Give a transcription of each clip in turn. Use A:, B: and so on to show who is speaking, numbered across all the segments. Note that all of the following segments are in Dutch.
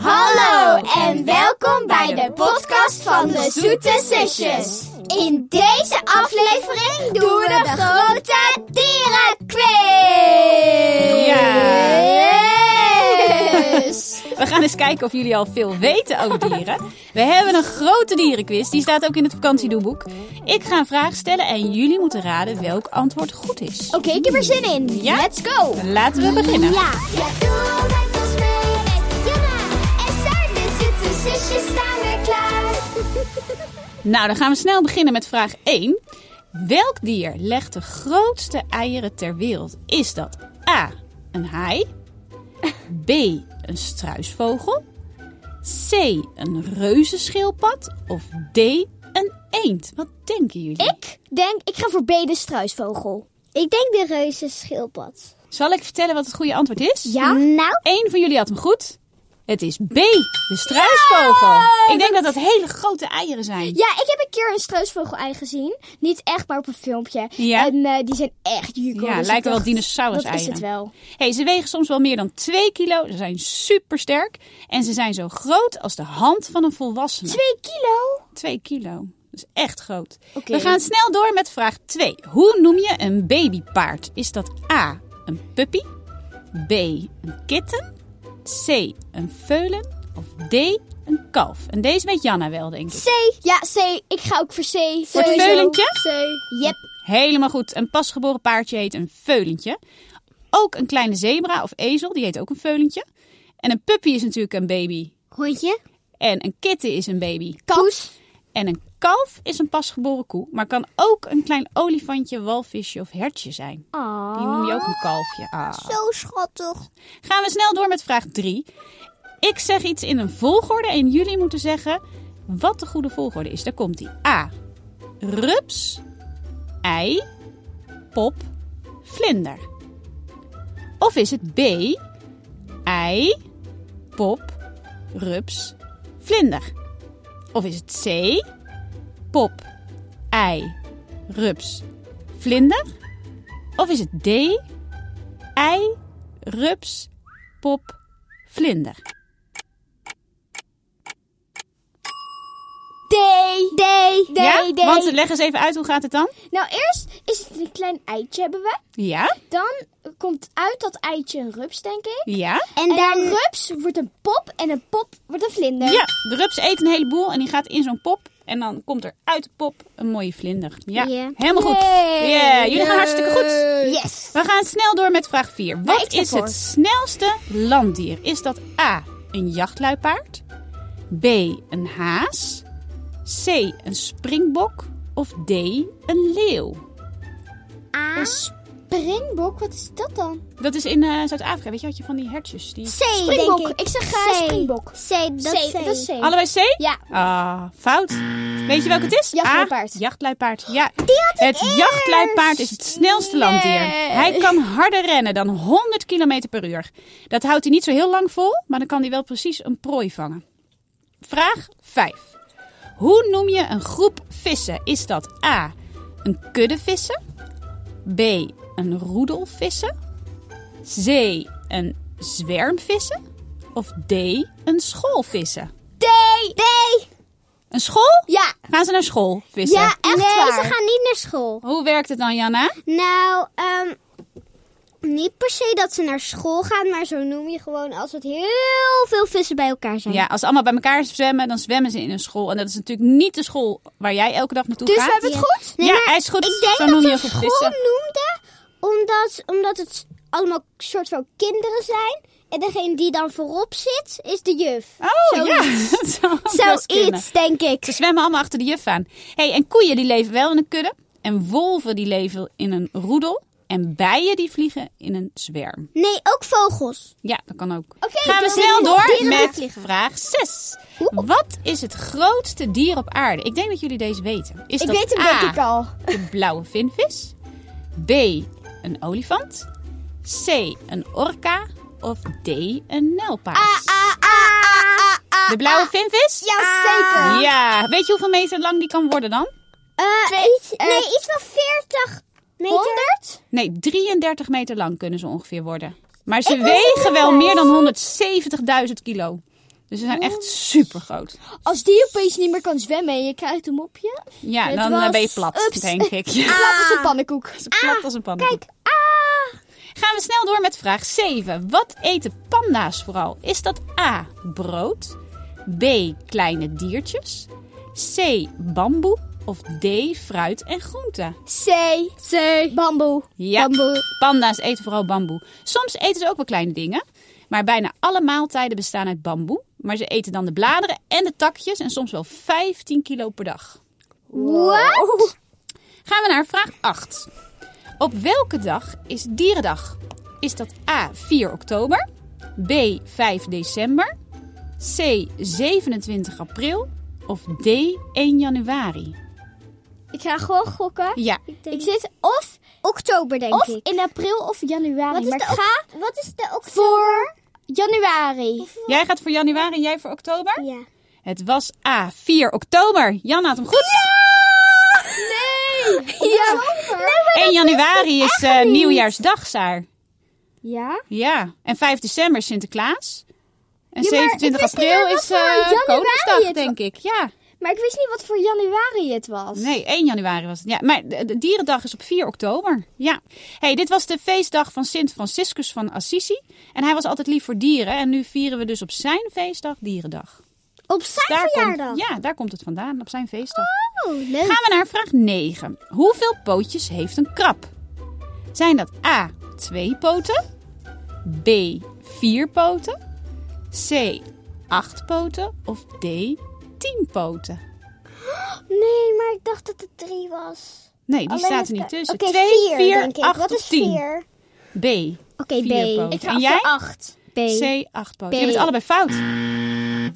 A: Hallo en welkom bij de podcast van de Zoete Zusjes. In deze aflevering doen we de grote dierenquiz.
B: We gaan eens kijken of jullie al veel weten over dieren. We hebben een grote dierenquiz, die staat ook in het vakantiedoeboek. Ik ga een vraag stellen en jullie moeten raden welk antwoord goed is.
A: Oké, ik heb er zin in.
B: Ja?
A: Let's go.
B: Laten we beginnen.
C: Ja,
A: Ja.
C: doe met ons mee met Jana en Sar, de zoete zusjes staan weer klaar.
B: Nou, dan gaan we snel beginnen met vraag 1. Welk dier legt de grootste eieren ter wereld? Is dat A. Een haai? B. Een struisvogel? C. Een reuzenschildpad? Of D. Een eend? Wat denken jullie?
A: Ik denk, ik ga voor B de struisvogel.
C: Ik denk de reuzenschildpad.
B: Zal ik vertellen wat het goede antwoord is?
A: Ja?
C: Nou,
B: Eén van jullie had hem goed. Het is B, de struisvogel. ik denk dat dat hele grote eieren zijn.
C: ja, ik heb een keer een struisvogel-ei gezien. Niet echt, maar op een filmpje.
B: Ja.
C: En eh, die zijn echt juco.
B: Ja,
C: dus
B: lijken
C: ik
B: wel
C: dacht,
B: dinosaurus-eieren.
C: Dat is het wel.
B: Hey, ze wegen soms wel meer dan 2 kilo. Ze zijn supersterk. En ze zijn zo groot als de hand van een volwassene.
C: Twee kilo.
B: 2 kilo. Dat is echt groot.
C: Oké.
B: We gaan snel door met vraag 2. Hoe noem je een babypaard? Is dat A, een puppy? B, een kitten? C, een veulen? Of D, een kalf? En deze weet Janna wel, denk ik.
C: C. Ja, C. Ik ga ook voor C.
B: Voor het veulentje?
C: C. Yep.
B: Helemaal goed. Een pasgeboren paardje heet een veulentje. Ook een kleine zebra of ezel, die heet ook een veulentje. En een puppy is natuurlijk een baby.
C: Hondje.
B: En een kitten is een baby.
C: Koes.
B: En een kalf is een pasgeboren koe, maar kan ook een klein olifantje, walvisje of hertje zijn. Die noem je ook een kalfje. Ah.
C: Ah. Zo schattig.
B: Gaan we snel door met vraag 3. Ik zeg iets in een volgorde en jullie moeten zeggen wat de goede volgorde is. Daar komt die. A. Rups, ei, pop, vlinder. Of is het B. Ei, pop, rups, vlinder. Of is het C. Pop, ei, rups, vlinder. Of is het D. Ei, rups, pop, vlinder.
C: D. D. D.
B: ja?
C: D.
B: Want leg eens even uit, hoe gaat het dan?
C: Nou, eerst is het een klein eitje hebben we.
B: Ja,
C: Dan komt uit dat eitje een rups, denk ik.
B: ja.
C: En, dan... een rups wordt een pop en een pop wordt een vlinder.
B: Ja, de rups eet een heleboel en die gaat in zo'n pop. En dan komt er uit de pop een mooie vlinder. Ja,
C: Ja.
B: helemaal goed.
C: Yay.
B: Yeah, jullie gaan hartstikke goed.
C: Yes.
B: We gaan snel door met vraag 4.
C: ik
B: Wat
C: ga
B: is
C: voor.
B: het snelste landdier? Is dat A, een jachtluipaard? B, een haas? C, een springbok? Of D, een leeuw?
C: Een springbok, wat is dat dan?
B: Dat is in eh, Zuid-Afrika. Weet je, had je van die hertjes. Die...
C: C, springbok. ik. zeg eh, springbok.
A: C, dat
C: C, dat is C.
B: Allebei C?
C: Ja.
B: Ah, fout. Weet je welke het is?
C: Jachtluipaard.
B: A, jachtluipaard. Ja. het jachtluipaard is het snelste landdier. Hij kan harder rennen dan 100 km per uur. Dat houdt hij niet zo heel lang vol, maar dan kan hij wel precies een prooi vangen. Vraag 5. Hoe noem je een groep vissen? Is dat A. Een kudde vissen? B. Een roedel vissen? C. Een zwermvissen? Of D. Een schoolvissen?
C: D. D.
B: Een school?
C: Ja.
B: Gaan ze naar school vissen?
C: echt Mm.
A: nee,
C: waar.
A: ze gaan niet naar school.
B: Hoe werkt het dan, Janna?
A: Nou, ehm, niet per se dat ze naar school gaan, maar zo noem je gewoon als het heel veel vissen bij elkaar zijn.
B: Ja, als ze allemaal bij elkaar zwemmen, dan zwemmen ze in een school. En dat is natuurlijk niet de school waar jij elke dag naartoe
C: Dus we
B: gaat.
C: hebben het goed?
A: Nee,
B: ja,
A: maar
B: hij is goed.
A: Ik denk
B: Zo
A: dat
B: noem
A: ze
B: je goed
A: school
B: vissen.
A: noemde, omdat, omdat het allemaal soort van kinderen zijn. En degene die dan voorop zit, is de juf.
B: Oh, ja. Dat zou ook best kunnen.
C: Zoiets, denk ik.
B: Ze zwemmen allemaal achter de juf aan. hey, en koeien die leven wel in een kudde. En wolven die leven in een roedel. En bijen die vliegen in een zwerm.
A: Nee, ook vogels.
B: Ja, dat kan ook.
C: Oké,
B: Gaan we
C: dus
B: snel
C: dieren-
B: door
C: dieren
B: met
C: moeten vliegen.
B: vraag 6. Wat is het grootste dier op aarde? Ik denk dat jullie deze weten. Is
C: Ik
B: dat
C: weet hem
B: A,
C: denk ik al.
B: de blauwe vinvis? B, een olifant? C, een orka? Of D, een nijlpaard?
C: A, A, A, A, A.
B: de blauwe vinvis?
C: Ah, Ja,
D: Ah.
C: zeker.
B: Ja, weet je hoeveel meter lang die kan worden dan?
A: Eh, iets,
D: eh,
A: nee, iets van 40 meter.
C: 100?
B: Nee, 33 meter lang kunnen ze ongeveer worden. Maar ze wegen wel meer dan 170.000 kilo. Dus ze zijn echt super groot.
D: Als die opeens niet meer kan zwemmen en je krijgt hem op je,
B: Ja,
D: Het
B: dan
D: was-
B: eh, ben je plat,
D: Ups.
B: denk ik. Ja,
D: laat is een pannenkoek.
B: ze plat als een pannenkoek.
D: ah, Kijk, ah.
B: Gaan we snel door met vraag 7. Wat eten panda's vooral? Is dat A. brood, B. kleine diertjes, C. bamboe of D. fruit en groenten?
D: C. C. Bamboe.
B: Ja,
D: Bamboe.
B: panda's eten vooral bamboe. Soms eten ze ook wel kleine dingen, maar bijna alle maaltijden bestaan uit bamboe. Maar ze eten dan de bladeren en de takjes en soms wel 15 kilo per dag.
D: What?
B: Gaan we naar vraag 8. Op welke dag is Dierendag? Is dat A 4 oktober, B 5 december, C 27 april of D 1 januari?
D: Ik ga gewoon gokken.
B: Ja,
D: Ik zit of,
A: Oktober, denk
D: of
A: ik.
D: in april of januari.
A: Wat is,
D: maar
A: de
D: ik ga
A: ok- wat is de oktober?
D: voor januari.
B: jij gaat voor januari en jij voor oktober?
A: Ja.
B: Het was A 4 oktober. Jan had hem goed.
D: Ja.
B: 1 januari is eh, nieuwjaarsdag, Saar.
D: Ja?
B: Ja, en 5 december is Sinterklaas. En
D: maar
B: 27
D: ik wist niet
B: april
D: dat
B: is
D: dat voor
B: eh,
D: januari
B: Koningsdag,
D: het
B: denk ik. Ja.
D: Maar ik wist niet wat voor januari het was.
B: Nee, 1 januari was het. Ja, maar de, de Dierendag is op 4 oktober. Ja. hey, dit was de feestdag van Sint Franciscus van Assisi. En hij was altijd lief voor dieren. En nu vieren we dus op zijn feestdag Dierendag.
A: Op zijn verjaardag.
B: Komt, ja, daar komt het vandaan, op zijn feestdag.
A: Oh, leuk.
B: Gaan we naar vraag 9. Hoeveel pootjes heeft een krab? Zijn dat A. 2 poten, B. 4 poten, C. 8 poten of D. 10 poten?
A: Nee, maar ik dacht dat het drie was.
B: Nee, die
A: Alleen
B: staat
A: het
B: er niet
A: ka-
B: tussen.
A: Oké,
B: 2,
A: vier,
B: 4,
A: denk ik.
B: 8
A: Wat
B: of
A: is
B: 10.
A: vier?
B: B.
A: Oké,
B: Vier
A: B.
B: poten.
D: Ik ga
B: en jij?
D: voor 8. B.
B: C. 8 poten. Je bent allebei fout.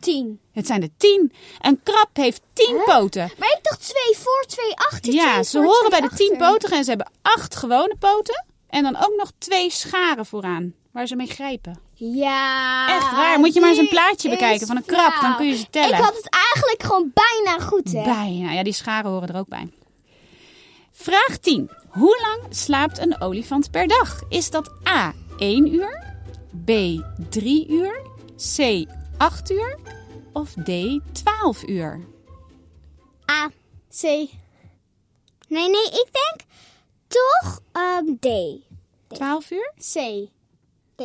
D: 10.
B: Het zijn er 10. Een krab heeft 10 poten.
A: Maar ik dacht twee voor, twee achter.
B: Ja,
A: twee
B: ze
A: voor,
B: horen
A: twee
B: bij de
A: achter.
B: 10 potigen en ze hebben 8 gewone poten. En dan ook nog twee scharen vooraan. Waar ze mee grijpen.
D: Ja. Eh,
B: Echt
A: Ah,
B: waar. Moet je maar eens een plaatje
D: is
B: bekijken van een krab. Dan
D: flauw.
B: kun je ze tellen.
A: Ik had het eigenlijk gewoon bijna goed, hè?
B: Bijna. Ja, die scharen horen er ook bij. Vraag 10. Hoe lang slaapt een olifant per dag? Is dat A. 1 uur, B. 3 uur, C. 8 uur of D. 12 uur?
A: A.
D: C.
A: Nee, nee, ik denk toch ehm, D.
B: 12 uur?
D: C.
A: D.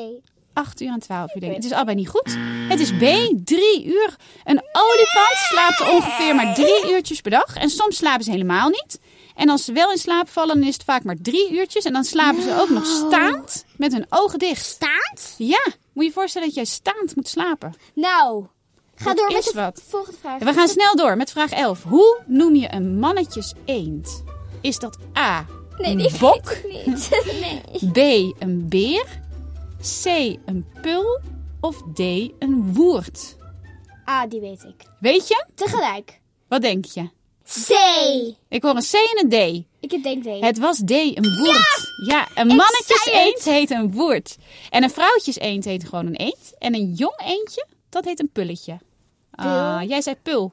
B: 8 uur en 12 uur. Denk ik. Het is allebei niet goed. Het is B. 3 uur. Een olifant slaapt ongeveer maar 3 uurtjes per dag. En soms slapen ze helemaal niet. En als ze wel in slaap vallen, dan is het vaak maar 3 uurtjes. En dan slapen ze ook nog staand met hun ogen dicht.
A: Staand?
B: Ja, moet je je voorstellen dat jij staand moet slapen.
D: Nou.
A: Ga door
B: is
A: met de
B: wat.
A: volgende vraag.
B: We gaan snel door met vraag 11. Hoe noem je een mannetjes eend? Is dat A, een bok,
A: Niet. nee.
B: B, een beer, C, een pul of D, een woerd?
D: A, Ah, die weet ik.
B: Weet je?
D: Tegelijk.
B: Wat denk je?
A: C.
B: Ik hoor een C en een D.
D: Ik heb denk D.
B: Het was D, een woerd. Ja, een mannetjes
A: zei
B: eend heet een woerd. En een vrouwtjes eend heet gewoon een eend. En een jong eendje, dat heet een pulletje. Ah, jij zei pul.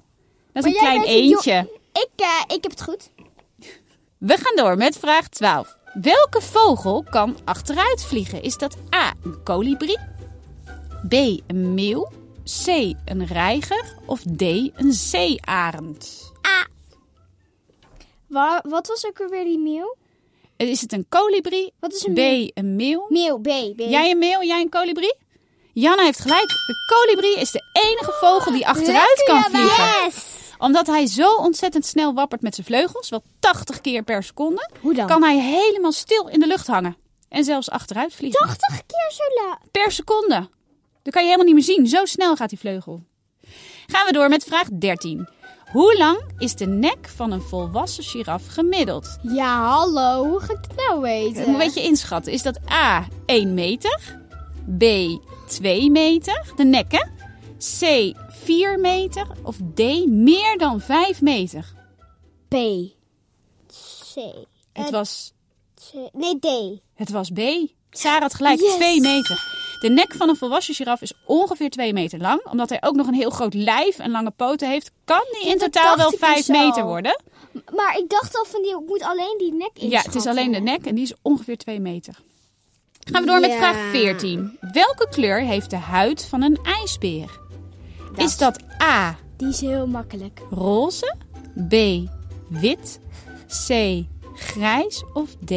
B: Dat is een
D: Maar jij
B: klein
D: bent een jong-
B: eendje.
D: Ik, eh, ik heb het goed.
B: We gaan door met vraag 12. Welke vogel kan achteruit vliegen? Is dat A. een kolibrie, B. een meeuw, C. een reiger of D. een zeearend?
D: Wa- wat was ook alweer die meeuw?
B: Is het een kolibrie,
D: Wat is een
B: B.
D: meeuw?
B: een meeuw,
D: Meeuw, B. B.
B: Jij een meeuw, jij een kolibrie? Janna heeft gelijk. De kolibrie is de enige vogel die achteruit kan vliegen.
A: Yes.
B: Omdat hij zo ontzettend snel wappert met zijn vleugels, wel 80 keer per seconde,
D: Hoe dan?
B: kan hij helemaal stil in de lucht hangen. En zelfs achteruit vliegen.
A: 80 keer zo laat.
B: Per seconde. Dan kan je helemaal niet meer zien. Zo snel gaat die vleugel. Gaan we door met vraag 13. Hoe lang is de nek van een volwassen giraf gemiddeld?
D: Ja, hallo. Hoe ga ik dat
B: Eh,
D: nou weten?
B: Ik moet een beetje inschatten. Is dat A, 1 meter? B, 2 meter? De nekken? C, 4 meter? Of D, meer dan 5 meter?
D: B.
A: C. Eh,
B: Het was,
A: C. Nee, D.
B: het was B. Sarah had gelijk, 2 meter. De nek van een volwassen giraf is ongeveer 2 meter lang. Omdat hij ook nog een heel groot lijf en lange poten heeft, kan die in
D: dat
B: totaal
D: dacht
B: wel
D: ik
B: 5
D: dus
B: meter
D: al.
B: worden.
D: Maar ik dacht al van die, ik moet alleen die nek in.
B: Ja, het is alleen de nek en die is ongeveer 2 meter. Gaan we door met
D: Ja.
B: vraag 14. Welke kleur heeft de huid van een ijsbeer? Is dat A,
D: Die is heel makkelijk.
B: roze, B, wit, C, grijs of D,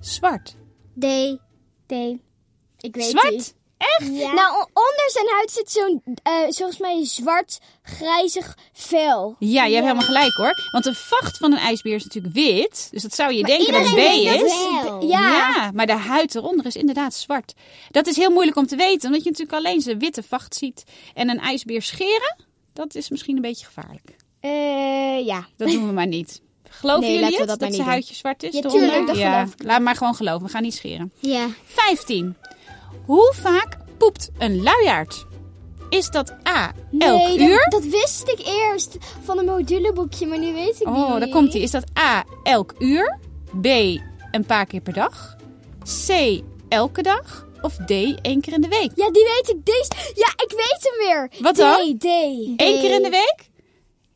B: zwart?
D: D. D. Ik weet
B: zwart?
D: niet.
B: Echt?
D: Nou, on- onder zijn huid zit zo'n, eh volgens mij, zwart-grijzig vel.
B: Ja, je hebt helemaal gelijk hoor. Want de vacht van een ijsbeer is natuurlijk wit. Dus dat zou je denken dat B
D: iedereen weet
B: is.
D: dat het
A: Wel.
D: B- Ja.
B: maar de huid eronder is inderdaad zwart. Dat is heel moeilijk om te weten, omdat je natuurlijk alleen zijn witte vacht ziet. En een ijsbeer scheren, dat is misschien een beetje gevaarlijk.
D: Eh, ja.
B: Dat doen we maar niet. Geloven
D: Nee,
B: jullie
D: laten we dat
B: het, dat,
D: maar niet
B: zijn
D: doen.
B: huidje zwart is?
D: Ja,
B: eronder?
D: tuurlijk, dat
B: ja,
D: geloof
B: laat maar gewoon geloven, we gaan niet scheren.
A: Ja.
B: 15. Hoe vaak poept een luiaard? Is dat A, elk
D: Nee, dat-
B: uur?
D: Dat, wist ik eerst van een moduleboekje, maar nu weet ik niet.
B: Oh, daar komt hij. Is dat A, elk uur? B, een paar keer per dag? C, elke dag? Of D, één keer in de week?
D: Ja, die weet ik. Deze. Ja, ik weet hem weer.
B: Wat dan?
D: D, D.
B: Eén keer in de week?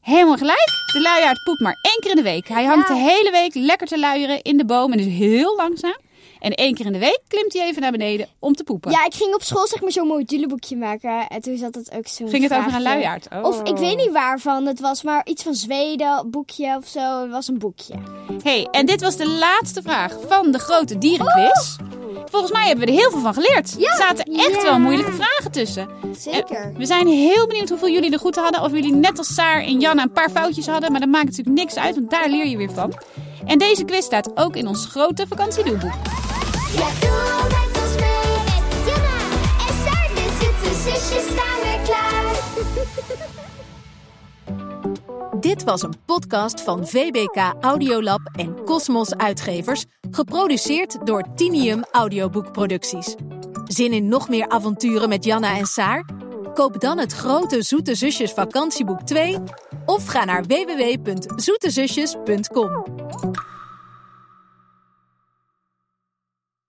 B: Helemaal gelijk. De luiaard poept maar één keer in de week. Hij hangt de hele week lekker te luieren in de boom en is heel langzaam. En één keer in de week klimt hij even naar beneden om te poepen.
D: Ja, ik ging op school zeg maar zo'n moduleboekje maken. En toen zat het ook zo.
B: Ging het over een luiaard? Oh.
D: Of ik weet niet waarvan het was, maar iets van Zweden, boekje of zo. Het was een boekje.
B: hey, en dit was de laatste vraag van de grote dierenquiz. Volgens mij hebben we er heel veel van geleerd. Er zaten echt wel moeilijke vragen tussen.
D: Zeker.
B: En we zijn heel benieuwd hoeveel jullie er goed hadden. Of jullie net als Saar en Janna een paar foutjes hadden. Maar dat maakt natuurlijk niks uit, want daar leer je weer van. En deze quiz staat ook in ons grote vakantiedoelboek.
C: Ja, doe met ons mee, Ed, Jana en Saar, de zoete zusjes staan weer klaar.
E: Dit was een podcast van VBK Audiolab en Cosmos Uitgevers, geproduceerd door Tinium Audioboekproducties. Zin in nog meer avonturen met Janna en Saar? Koop dan het grote Zoete Zusjes vakantieboek 2 of ga naar www.zoetezusjes.com.